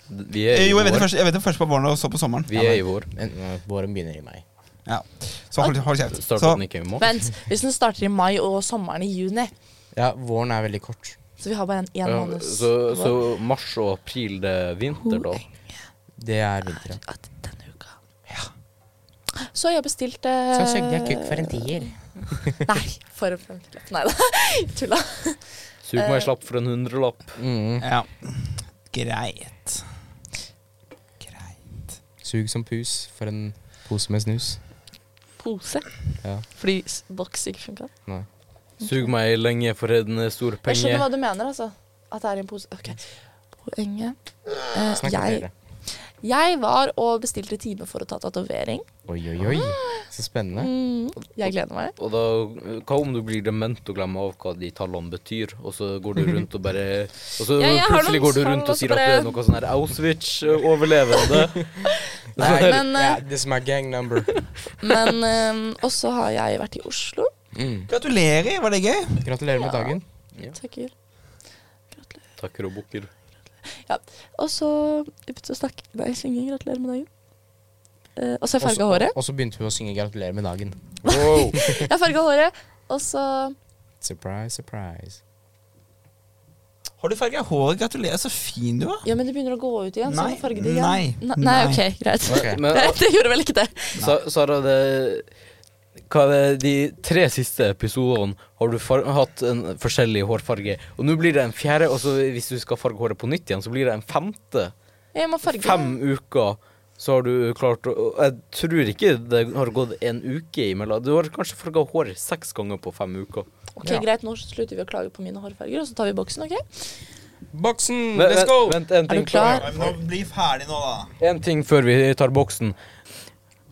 [SPEAKER 2] Vi er
[SPEAKER 1] Eh,
[SPEAKER 2] i
[SPEAKER 1] Jo, jeg venter,
[SPEAKER 2] vår.
[SPEAKER 1] først, jeg venter først på våren og så på sommeren.
[SPEAKER 2] Vi er i vår.
[SPEAKER 3] Men, eh, våren begynner i mai.
[SPEAKER 1] Ja. Så hold, hold kjeft.
[SPEAKER 2] Starta
[SPEAKER 1] Så,
[SPEAKER 2] den ikke i morgen?
[SPEAKER 4] Vent, hvis den starter i mai og sommeren i juni,
[SPEAKER 3] Ja, våren er veldig kort.
[SPEAKER 4] så vi har bare en én
[SPEAKER 2] Ja,
[SPEAKER 4] måned
[SPEAKER 2] så, så mars og april, det er vinter, da.
[SPEAKER 3] Det er vinter, ja.
[SPEAKER 4] at denne uka. Så har jeg bestilt eh,
[SPEAKER 3] Så søkte jeg kukk for en tier.
[SPEAKER 4] Nei, for en femtilapp. Nei da, tulla.
[SPEAKER 2] Sug
[SPEAKER 4] Eh,
[SPEAKER 2] meg slapp for en hundrelapp.
[SPEAKER 3] Mm.
[SPEAKER 1] Ja. Greit. Greit.
[SPEAKER 3] Sug som pus for en pose med snus.
[SPEAKER 4] Pose.
[SPEAKER 3] Ja.
[SPEAKER 4] Fordi s- boks ikke funka.
[SPEAKER 3] Nei.
[SPEAKER 2] Sug meg lenge for en stor
[SPEAKER 4] Jeg skjønner
[SPEAKER 2] penge.
[SPEAKER 4] hva du mener, altså. At det er i en pose. Ok, Poenget eh,
[SPEAKER 3] Snakk med
[SPEAKER 4] jeg,
[SPEAKER 3] dere.
[SPEAKER 4] jeg var og bestilte time for å ta tatovering.
[SPEAKER 3] Oi, oi, oi. Så spennende.
[SPEAKER 4] Mm, jeg gleder meg.
[SPEAKER 2] Og da, hva om du blir dement og glemmer av hva de tallene betyr, og så går du rundt og bare Og så
[SPEAKER 4] Mhm. Ja, jeg har
[SPEAKER 2] plutselig
[SPEAKER 4] noen
[SPEAKER 2] går du
[SPEAKER 4] tall,
[SPEAKER 2] rundt
[SPEAKER 4] og
[SPEAKER 2] og
[SPEAKER 4] så
[SPEAKER 2] sier at du er
[SPEAKER 4] bare-
[SPEAKER 2] noe sånn her Auschwitz-overlevende.
[SPEAKER 3] Nei,
[SPEAKER 4] men,
[SPEAKER 3] ja,
[SPEAKER 4] eh,
[SPEAKER 3] this is my gang number.
[SPEAKER 4] Men eh, også har jeg vært i Oslo.
[SPEAKER 3] Mm.
[SPEAKER 1] Gratulerer, var det gøy?
[SPEAKER 3] Gratulerer med
[SPEAKER 4] Ja.
[SPEAKER 3] dagen.
[SPEAKER 4] Takker.
[SPEAKER 2] Takker og bukker.
[SPEAKER 4] Og så begynte å snakke Nei, synge 'Gratulerer med dagen'. Eh, og så har jeg farga
[SPEAKER 3] Også-
[SPEAKER 4] håret.
[SPEAKER 3] Og så begynte hun å synge 'Gratulerer med dagen'.
[SPEAKER 2] Wow.
[SPEAKER 4] Jeg har farga håret, og så
[SPEAKER 3] Surprise, surprise.
[SPEAKER 1] Har du farga håret? Gratulerer, så fin du var.
[SPEAKER 4] Ja, men det begynner å gå ut igjen. så
[SPEAKER 1] Nei,
[SPEAKER 4] jeg må farge det igjen.
[SPEAKER 1] nei,
[SPEAKER 4] nei, nei.
[SPEAKER 1] nei.
[SPEAKER 4] OK, greit.
[SPEAKER 3] Ok.
[SPEAKER 2] Men
[SPEAKER 4] Greit, det gjorde vel ikke det.
[SPEAKER 2] Sa- Sara, det hva er det, de tre siste episodene har du far hatt en forskjellig hårfarge. Og nå blir det en fjerde, og så hvis du skal farge håret på nytt igjen, så blir det en femte.
[SPEAKER 4] Jeg må farge
[SPEAKER 2] Fem uker så har du klart å og Jeg tror ikke det har gått en uke imellom. Du har kanskje farga håret seks ganger på fem uker.
[SPEAKER 4] Ok, Greit, nå slutter vi å klage på mine hårfarger, og så tar vi boksen, OK?
[SPEAKER 3] Boksen,
[SPEAKER 2] Men-
[SPEAKER 3] Mm, let's go!
[SPEAKER 2] Vent, en
[SPEAKER 4] Er
[SPEAKER 2] ting,
[SPEAKER 4] du klar?
[SPEAKER 1] Nei, men nå, Bli ferdig nå, da.
[SPEAKER 2] en ting før vi tar boksen.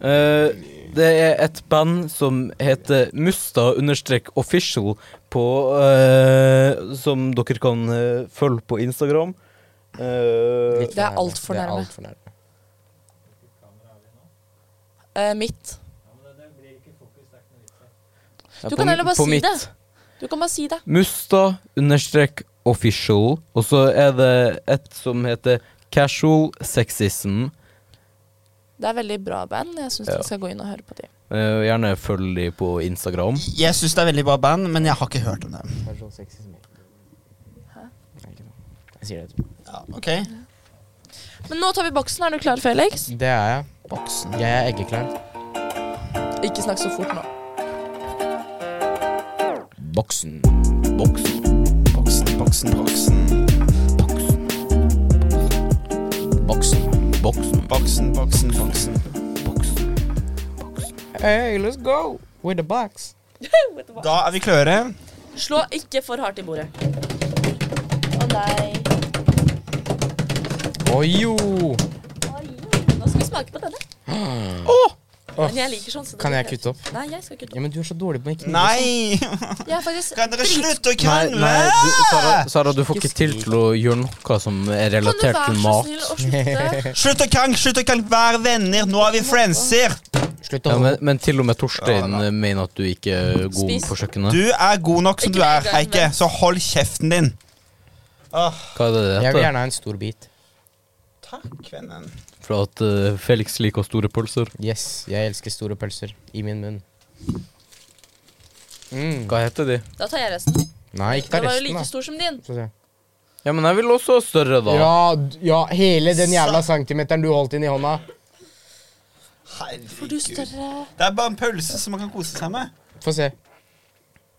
[SPEAKER 2] Eh, det er et band som heter Musta-official på eh, Som dere kan eh, følge på Instagram. Eh,
[SPEAKER 3] Litt for
[SPEAKER 4] Det er
[SPEAKER 3] nærme.
[SPEAKER 4] alt for
[SPEAKER 3] Det er
[SPEAKER 4] nærme.
[SPEAKER 3] alt for nærme.
[SPEAKER 4] Eh, mitt.
[SPEAKER 2] ja,
[SPEAKER 4] Du
[SPEAKER 2] på-
[SPEAKER 4] kan heller bare
[SPEAKER 2] på
[SPEAKER 4] si
[SPEAKER 2] mitt.
[SPEAKER 4] det. Du kan bare si det.
[SPEAKER 2] Musta-official. Og så er det et som heter Casual Sexism.
[SPEAKER 4] Det er veldig bra band. Jeg syns
[SPEAKER 2] Ja.
[SPEAKER 4] dere skal gå inn og høre på dem.
[SPEAKER 2] Eh, gjerne følg de på Instagram.
[SPEAKER 1] Jeg syns det er veldig bra band, men jeg har ikke hørt om dem.
[SPEAKER 3] Det er så sexy som mulig. Nei, ikke noe. Jeg sier det etterpå.
[SPEAKER 1] Ja, ok
[SPEAKER 4] Men nå tar vi boksen. Er du klar, Felix?
[SPEAKER 3] Det er jeg.
[SPEAKER 1] Boksen.
[SPEAKER 3] Jeg er eggeklar.
[SPEAKER 4] Ikke snakk så fort nå.
[SPEAKER 3] Boksen.
[SPEAKER 2] Boksen.
[SPEAKER 1] Boksen, boksen, boksen.
[SPEAKER 2] Boksen.
[SPEAKER 3] Boksen.
[SPEAKER 2] Boksen.
[SPEAKER 1] Boksen, boksen, boksen.
[SPEAKER 2] Boksen.
[SPEAKER 3] Hey, let's go! With the box.
[SPEAKER 1] Da er vi klare.
[SPEAKER 4] Slå ikke for hardt i bordet. Å nei.
[SPEAKER 3] Å jo!
[SPEAKER 4] Oi, Nå skal vi smake på denne.
[SPEAKER 3] Åh,
[SPEAKER 4] Men jeg liker sånn. Så det
[SPEAKER 3] Kan
[SPEAKER 4] blir
[SPEAKER 3] jeg
[SPEAKER 4] helt-
[SPEAKER 3] kutte opp?
[SPEAKER 4] Nei, jeg skal kutte
[SPEAKER 3] Ja,
[SPEAKER 4] opp.
[SPEAKER 3] men du er så dårlig på å ikke
[SPEAKER 1] Nei!
[SPEAKER 4] Jeg er faktisk
[SPEAKER 1] Kan dere
[SPEAKER 4] drit-
[SPEAKER 1] slutte å
[SPEAKER 2] Nei,
[SPEAKER 1] krangle?
[SPEAKER 2] nei du, Sara, Sara, du får ikke til til å gjøre noe som er
[SPEAKER 4] Kan du
[SPEAKER 2] relatert
[SPEAKER 4] være
[SPEAKER 2] til
[SPEAKER 4] så
[SPEAKER 2] mat.
[SPEAKER 4] snill å slutte?
[SPEAKER 1] Slutt å krangle, slutt å krangle. Vær venner, nå er vi friendser.
[SPEAKER 3] Slutt
[SPEAKER 2] Ja,
[SPEAKER 3] å
[SPEAKER 2] men, men til og med Torstein
[SPEAKER 1] Ja, da.
[SPEAKER 2] eh, mener at du ikke er god
[SPEAKER 4] Spis.
[SPEAKER 2] på kjøkkenet.
[SPEAKER 1] Du er god nok som du er, Heike, så hold kjeften din. Åh,
[SPEAKER 2] Hva er det det
[SPEAKER 3] Jeg vil
[SPEAKER 2] heter?
[SPEAKER 3] gjerne ha en stor bit.
[SPEAKER 1] takk, vennen.
[SPEAKER 2] For at eh, Felix liker store pølser.
[SPEAKER 3] Yes, jeg elsker store pølser i min munn. Mm.
[SPEAKER 2] Hva heter de?
[SPEAKER 4] Da tar jeg resten.
[SPEAKER 3] Nei, ikke ta
[SPEAKER 4] Den var jo
[SPEAKER 3] resten,
[SPEAKER 4] like
[SPEAKER 3] da.
[SPEAKER 4] stor som din.
[SPEAKER 3] Få se.
[SPEAKER 2] Ja, men jeg vil også ha større, da.
[SPEAKER 3] Ja, d- ja, hele den jævla centimeteren du holdt inn i hånda.
[SPEAKER 4] Får du
[SPEAKER 1] Herregud.
[SPEAKER 4] større
[SPEAKER 1] Det er bare en pølse som man kan kose seg med.
[SPEAKER 3] Få se.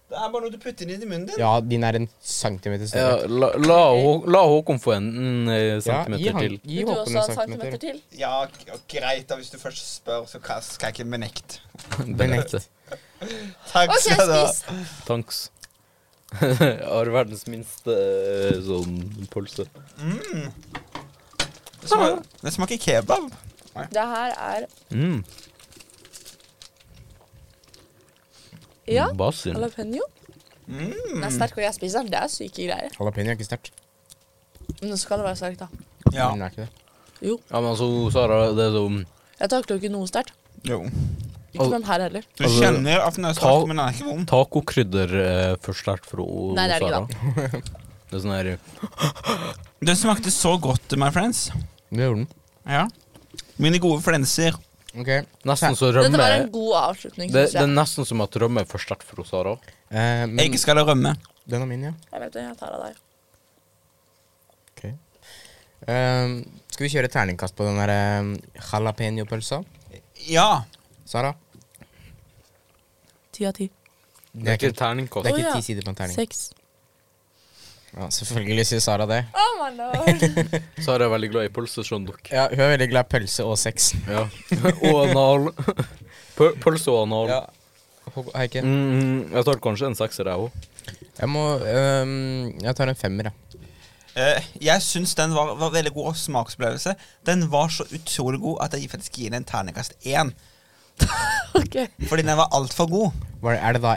[SPEAKER 1] Det er bare noe du putter inn i munnen din.
[SPEAKER 3] Ja, din er en centimeter
[SPEAKER 2] Ja,
[SPEAKER 3] større.
[SPEAKER 2] la, la, Hå- la Håkon få en mm, eh,
[SPEAKER 3] Ja, gi,
[SPEAKER 2] centimeter
[SPEAKER 3] han,
[SPEAKER 2] til.
[SPEAKER 3] gi
[SPEAKER 4] Vil du
[SPEAKER 3] Håkon
[SPEAKER 4] også ha
[SPEAKER 3] en
[SPEAKER 4] en centimeter
[SPEAKER 3] centimeter.
[SPEAKER 4] til?
[SPEAKER 1] Ja, k- og greit, da, hvis du først spør, så ka- skal jeg ikke benekte.
[SPEAKER 2] Benekte.
[SPEAKER 1] Takk
[SPEAKER 4] OK,
[SPEAKER 1] skal du ha.
[SPEAKER 4] spis.
[SPEAKER 2] Tanks. Jeg har verdens minste eh, sånn pølse.
[SPEAKER 1] Det smaker- Det smaker kebab.
[SPEAKER 4] Det her er
[SPEAKER 2] Mm.
[SPEAKER 4] Ja.
[SPEAKER 2] Basil.
[SPEAKER 4] Jalapeño.
[SPEAKER 1] Hmm.
[SPEAKER 4] Den
[SPEAKER 3] Mm.
[SPEAKER 4] er sterk, og jeg spiser den. Det er syke greier.
[SPEAKER 3] Jalapeño er ikke sterkt.
[SPEAKER 4] Men så kan det være sterkt, da.
[SPEAKER 1] Ja.
[SPEAKER 3] Men det er ikke det.
[SPEAKER 4] Jo.
[SPEAKER 2] Ja, men altså, Sara, det er sånn
[SPEAKER 4] Jeg takler jo ikke noe sterkt.
[SPEAKER 1] Jo.
[SPEAKER 4] Ikke den her heller.
[SPEAKER 1] Du
[SPEAKER 2] Altså,
[SPEAKER 1] kjenner at den er sterk,
[SPEAKER 2] ta-
[SPEAKER 1] men den er ikke vond.
[SPEAKER 2] Tacokrydder eh, for sterkt for o-
[SPEAKER 4] Nei, det er det
[SPEAKER 2] Sara.
[SPEAKER 4] ikke,
[SPEAKER 2] Det er sånn her
[SPEAKER 1] Den smakte så godt, my friends.
[SPEAKER 3] Det gjorde den.
[SPEAKER 1] Ja. Mine gode flenser.
[SPEAKER 3] Ok.
[SPEAKER 2] Nesten så
[SPEAKER 4] Dette var en
[SPEAKER 2] rømme
[SPEAKER 4] god avslutning,
[SPEAKER 2] det,
[SPEAKER 4] syns
[SPEAKER 2] det er
[SPEAKER 4] jeg.
[SPEAKER 2] nesten som at rømme er for sterkt for Sara.
[SPEAKER 3] Eh, men
[SPEAKER 1] Egg skal det rømme.
[SPEAKER 3] den er min, ja.
[SPEAKER 4] Jeg vet det, jeg tar av deg.
[SPEAKER 3] Eh, skal vi kjøre terningkast på den der eh, jalapeño-pølsa?
[SPEAKER 1] Ja.
[SPEAKER 3] Sara?
[SPEAKER 4] Ti av ti.
[SPEAKER 2] Det er ikke
[SPEAKER 3] Det
[SPEAKER 2] terningkast.
[SPEAKER 3] er
[SPEAKER 4] Å, ja.
[SPEAKER 3] ikke ti sider på en terning.
[SPEAKER 4] Sex.
[SPEAKER 3] Ja, selvfølgelig sier Sara det.
[SPEAKER 4] Oh my lord.
[SPEAKER 2] Sara er veldig glad i pølse, skjønner dere.
[SPEAKER 3] Ja, Hun er veldig glad i pølse og sex.
[SPEAKER 2] Ja. og anal. Pø- Pølse og anal.
[SPEAKER 3] Ja. Hå- Heike.
[SPEAKER 2] Mm, jeg tar kanskje en sekser, jeg òg.
[SPEAKER 3] Jeg må øhm, Jeg tar en femmer, jeg.
[SPEAKER 1] Eh, jeg syns den var, var veldig god smaksopplevelse. Den var så utrolig god at jeg faktisk gir den en terningkast én.
[SPEAKER 4] ok.
[SPEAKER 1] Fordi den var altfor god.
[SPEAKER 3] Var det- Er det da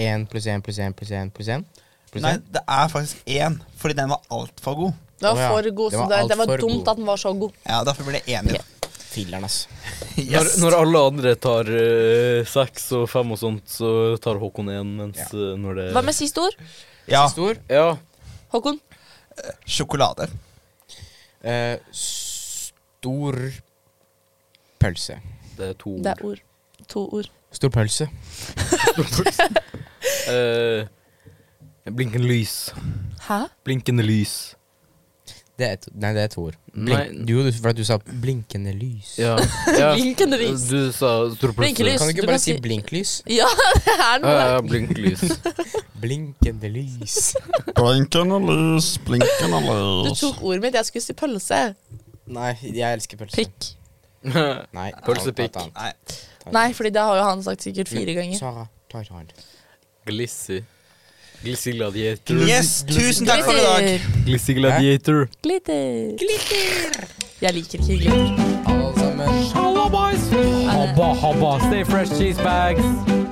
[SPEAKER 3] én pluss én pluss én pluss én pluss én? Pluss
[SPEAKER 1] Nei,
[SPEAKER 3] én?
[SPEAKER 1] det er faktisk én, fordi den var altfor god.
[SPEAKER 4] Den
[SPEAKER 3] Å, ja.
[SPEAKER 4] var for god,
[SPEAKER 3] Den
[SPEAKER 4] så
[SPEAKER 3] var
[SPEAKER 4] det,
[SPEAKER 3] alt
[SPEAKER 4] det var
[SPEAKER 3] for
[SPEAKER 4] dumt
[SPEAKER 3] god.
[SPEAKER 4] at den var så god.
[SPEAKER 1] Ja, Derfor ble jeg enig.
[SPEAKER 3] Filler'n, ass.
[SPEAKER 2] Når, når alle andre tar eh, seks og fem og sånt, så tar Håkon én, mens eh, når det
[SPEAKER 4] Hva med siste ord?
[SPEAKER 1] Ja,
[SPEAKER 3] Stor.
[SPEAKER 2] Ja.
[SPEAKER 4] Håkon?
[SPEAKER 1] sjokolade.
[SPEAKER 3] Eh, stor pølse.
[SPEAKER 2] Det er to
[SPEAKER 4] Det er ord. To ord.
[SPEAKER 3] Stor pølse.
[SPEAKER 2] Eh, blinkende Eh, lys.
[SPEAKER 4] Hæ?
[SPEAKER 2] Blinkende lys.
[SPEAKER 3] Det er et, nei, det er to ord.
[SPEAKER 2] Nei.
[SPEAKER 3] Blink, du, du, for at du sa blinkende lys.
[SPEAKER 2] Ja. ja.
[SPEAKER 4] Blinkende lys.
[SPEAKER 2] Du sa stor pølse.
[SPEAKER 4] Blinkelys.
[SPEAKER 3] Kan du
[SPEAKER 4] Du
[SPEAKER 3] ikke bare
[SPEAKER 4] kan
[SPEAKER 3] si
[SPEAKER 4] si-
[SPEAKER 3] blinklys?
[SPEAKER 4] Ja, det er
[SPEAKER 2] Ja,
[SPEAKER 4] noe.
[SPEAKER 2] ja, blinkelys.
[SPEAKER 3] Blinkende lys.
[SPEAKER 1] Blinkende lys, blinkende
[SPEAKER 4] Du tok ordet mitt. Jeg skulle si pølse.
[SPEAKER 3] Nei, jeg elsker pølse.
[SPEAKER 4] Pikk.
[SPEAKER 3] Nei,
[SPEAKER 2] Pølsepikk.
[SPEAKER 3] ta den,
[SPEAKER 1] Nei,
[SPEAKER 3] ta den.
[SPEAKER 4] Nei, fordi det har jo han sagt sikkert fire ganger.
[SPEAKER 3] Sara, ta et annet.
[SPEAKER 2] Glissy. Glissy gladiator.
[SPEAKER 1] Yes, tusen takk for i dag.
[SPEAKER 2] Glissy gladiator.
[SPEAKER 4] Glitter. Glitter. Jeg liker ikke glitter.
[SPEAKER 3] Alle sammen.
[SPEAKER 2] Habba, habba, stay fresh cheese bags.